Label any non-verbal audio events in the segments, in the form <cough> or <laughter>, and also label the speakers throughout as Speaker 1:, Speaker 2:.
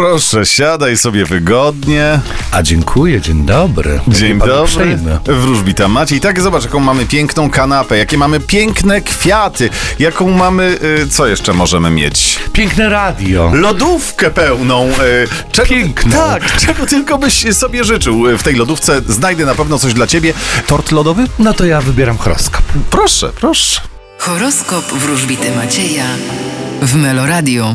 Speaker 1: Proszę, siadaj sobie wygodnie.
Speaker 2: A dziękuję, dzień dobry.
Speaker 1: Dzień
Speaker 2: Jakie panu
Speaker 1: dobry.
Speaker 2: uprzejme.
Speaker 1: Wróżbita Maciej. Tak, zobacz, jaką mamy piękną kanapę, jakie mamy piękne kwiaty, jaką mamy... y, co jeszcze możemy mieć?
Speaker 2: Piękne radio.
Speaker 1: Lodówkę pełną. y, czego,
Speaker 2: Piękną.
Speaker 1: Tak, czego tylko byś sobie życzył. Y, W tej lodówce znajdę na pewno coś dla ciebie. Tort lodowy?
Speaker 2: No to ja wybieram horoskop.
Speaker 1: Proszę, proszę.
Speaker 3: Horoskop wróżbity Macieja w Meloradio.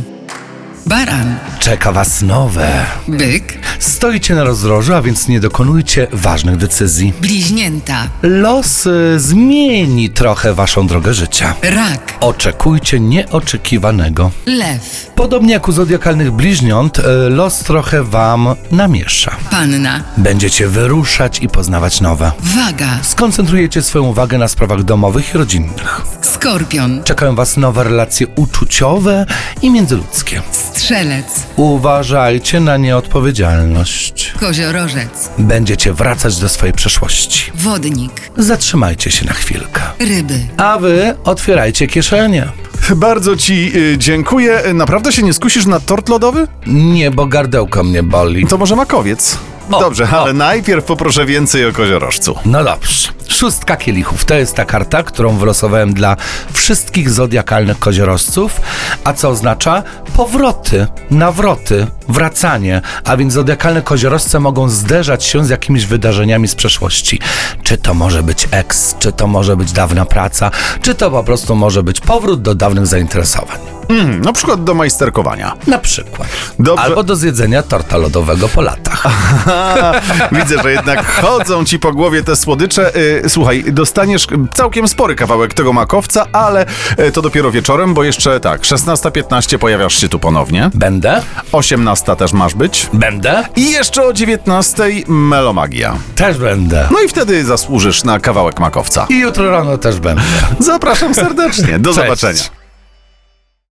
Speaker 3: Baran,
Speaker 2: Czeka was nowe.
Speaker 3: byk,
Speaker 2: Stoicie na rozdrożu, a więc nie dokonujcie ważnych decyzji.
Speaker 3: bliźnięta,
Speaker 2: Los y, zmieni trochę waszą drogę życia.
Speaker 3: rak,
Speaker 2: Oczekujcie nieoczekiwanego.
Speaker 3: lew,
Speaker 2: Podobnie jak u zodiakalnych bliźniąt, y, los trochę wam namiesza.
Speaker 3: panna,
Speaker 2: Będziecie wyruszać i poznawać nowe.
Speaker 3: waga,
Speaker 2: Skoncentrujecie swoją uwagę na sprawach domowych i rodzinnych.
Speaker 3: skorpion,
Speaker 2: Czekają Was nowe relacje uczuciowe i międzyludzkie.
Speaker 3: strzelec,
Speaker 2: Uważajcie na nieodpowiedzialność.
Speaker 3: koziorożec,
Speaker 2: Będziecie wracać do swojej przeszłości.
Speaker 3: wodnik,
Speaker 2: Zatrzymajcie się na chwilkę.
Speaker 3: ryby.
Speaker 2: A Wy otwierajcie kieszenie.
Speaker 1: Bardzo ci y, dziękuję. Y, Naprawdę się nie skusisz na tort lodowy?
Speaker 2: Nie, bo gardełko mnie boli.
Speaker 1: To może makowiec?
Speaker 2: O,
Speaker 1: Dobrze,
Speaker 2: o.
Speaker 1: ale najpierw poproszę więcej o koziorożcu.
Speaker 2: No dobrze. Szóstka kielichów to jest ta karta, którą wylosowałem dla wszystkich zodiakalnych koziorożców, a co oznacza powroty, nawroty, wracanie, a więc zodiakalne koziorożce mogą zderzać się z jakimiś wydarzeniami z przeszłości. Czy to może być eks, czy to może być dawna praca, czy to po prostu może być powrót do dawnych zainteresowań.
Speaker 1: Mm, na przykład do majsterkowania.
Speaker 2: Na przykład.
Speaker 1: Dobrze.
Speaker 2: Albo do zjedzenia torta lodowego po latach.
Speaker 1: <laughs> Widzę, że jednak chodzą ci po głowie te słodycze. Y, Słuchaj, dostaniesz całkiem spory kawałek tego makowca, ale y, to dopiero wieczorem, bo jeszcze tak, 16.15 pojawiasz się tu ponownie,
Speaker 2: Będę?
Speaker 1: 18 też masz być.
Speaker 2: Będę?
Speaker 1: I jeszcze o 19.00 melomagia.
Speaker 2: Też będę.
Speaker 1: No i wtedy zasłużysz na kawałek makowca.
Speaker 2: I jutro rano też będę.
Speaker 1: Zapraszam serdecznie. Do
Speaker 2: Cześć.
Speaker 1: zobaczenia.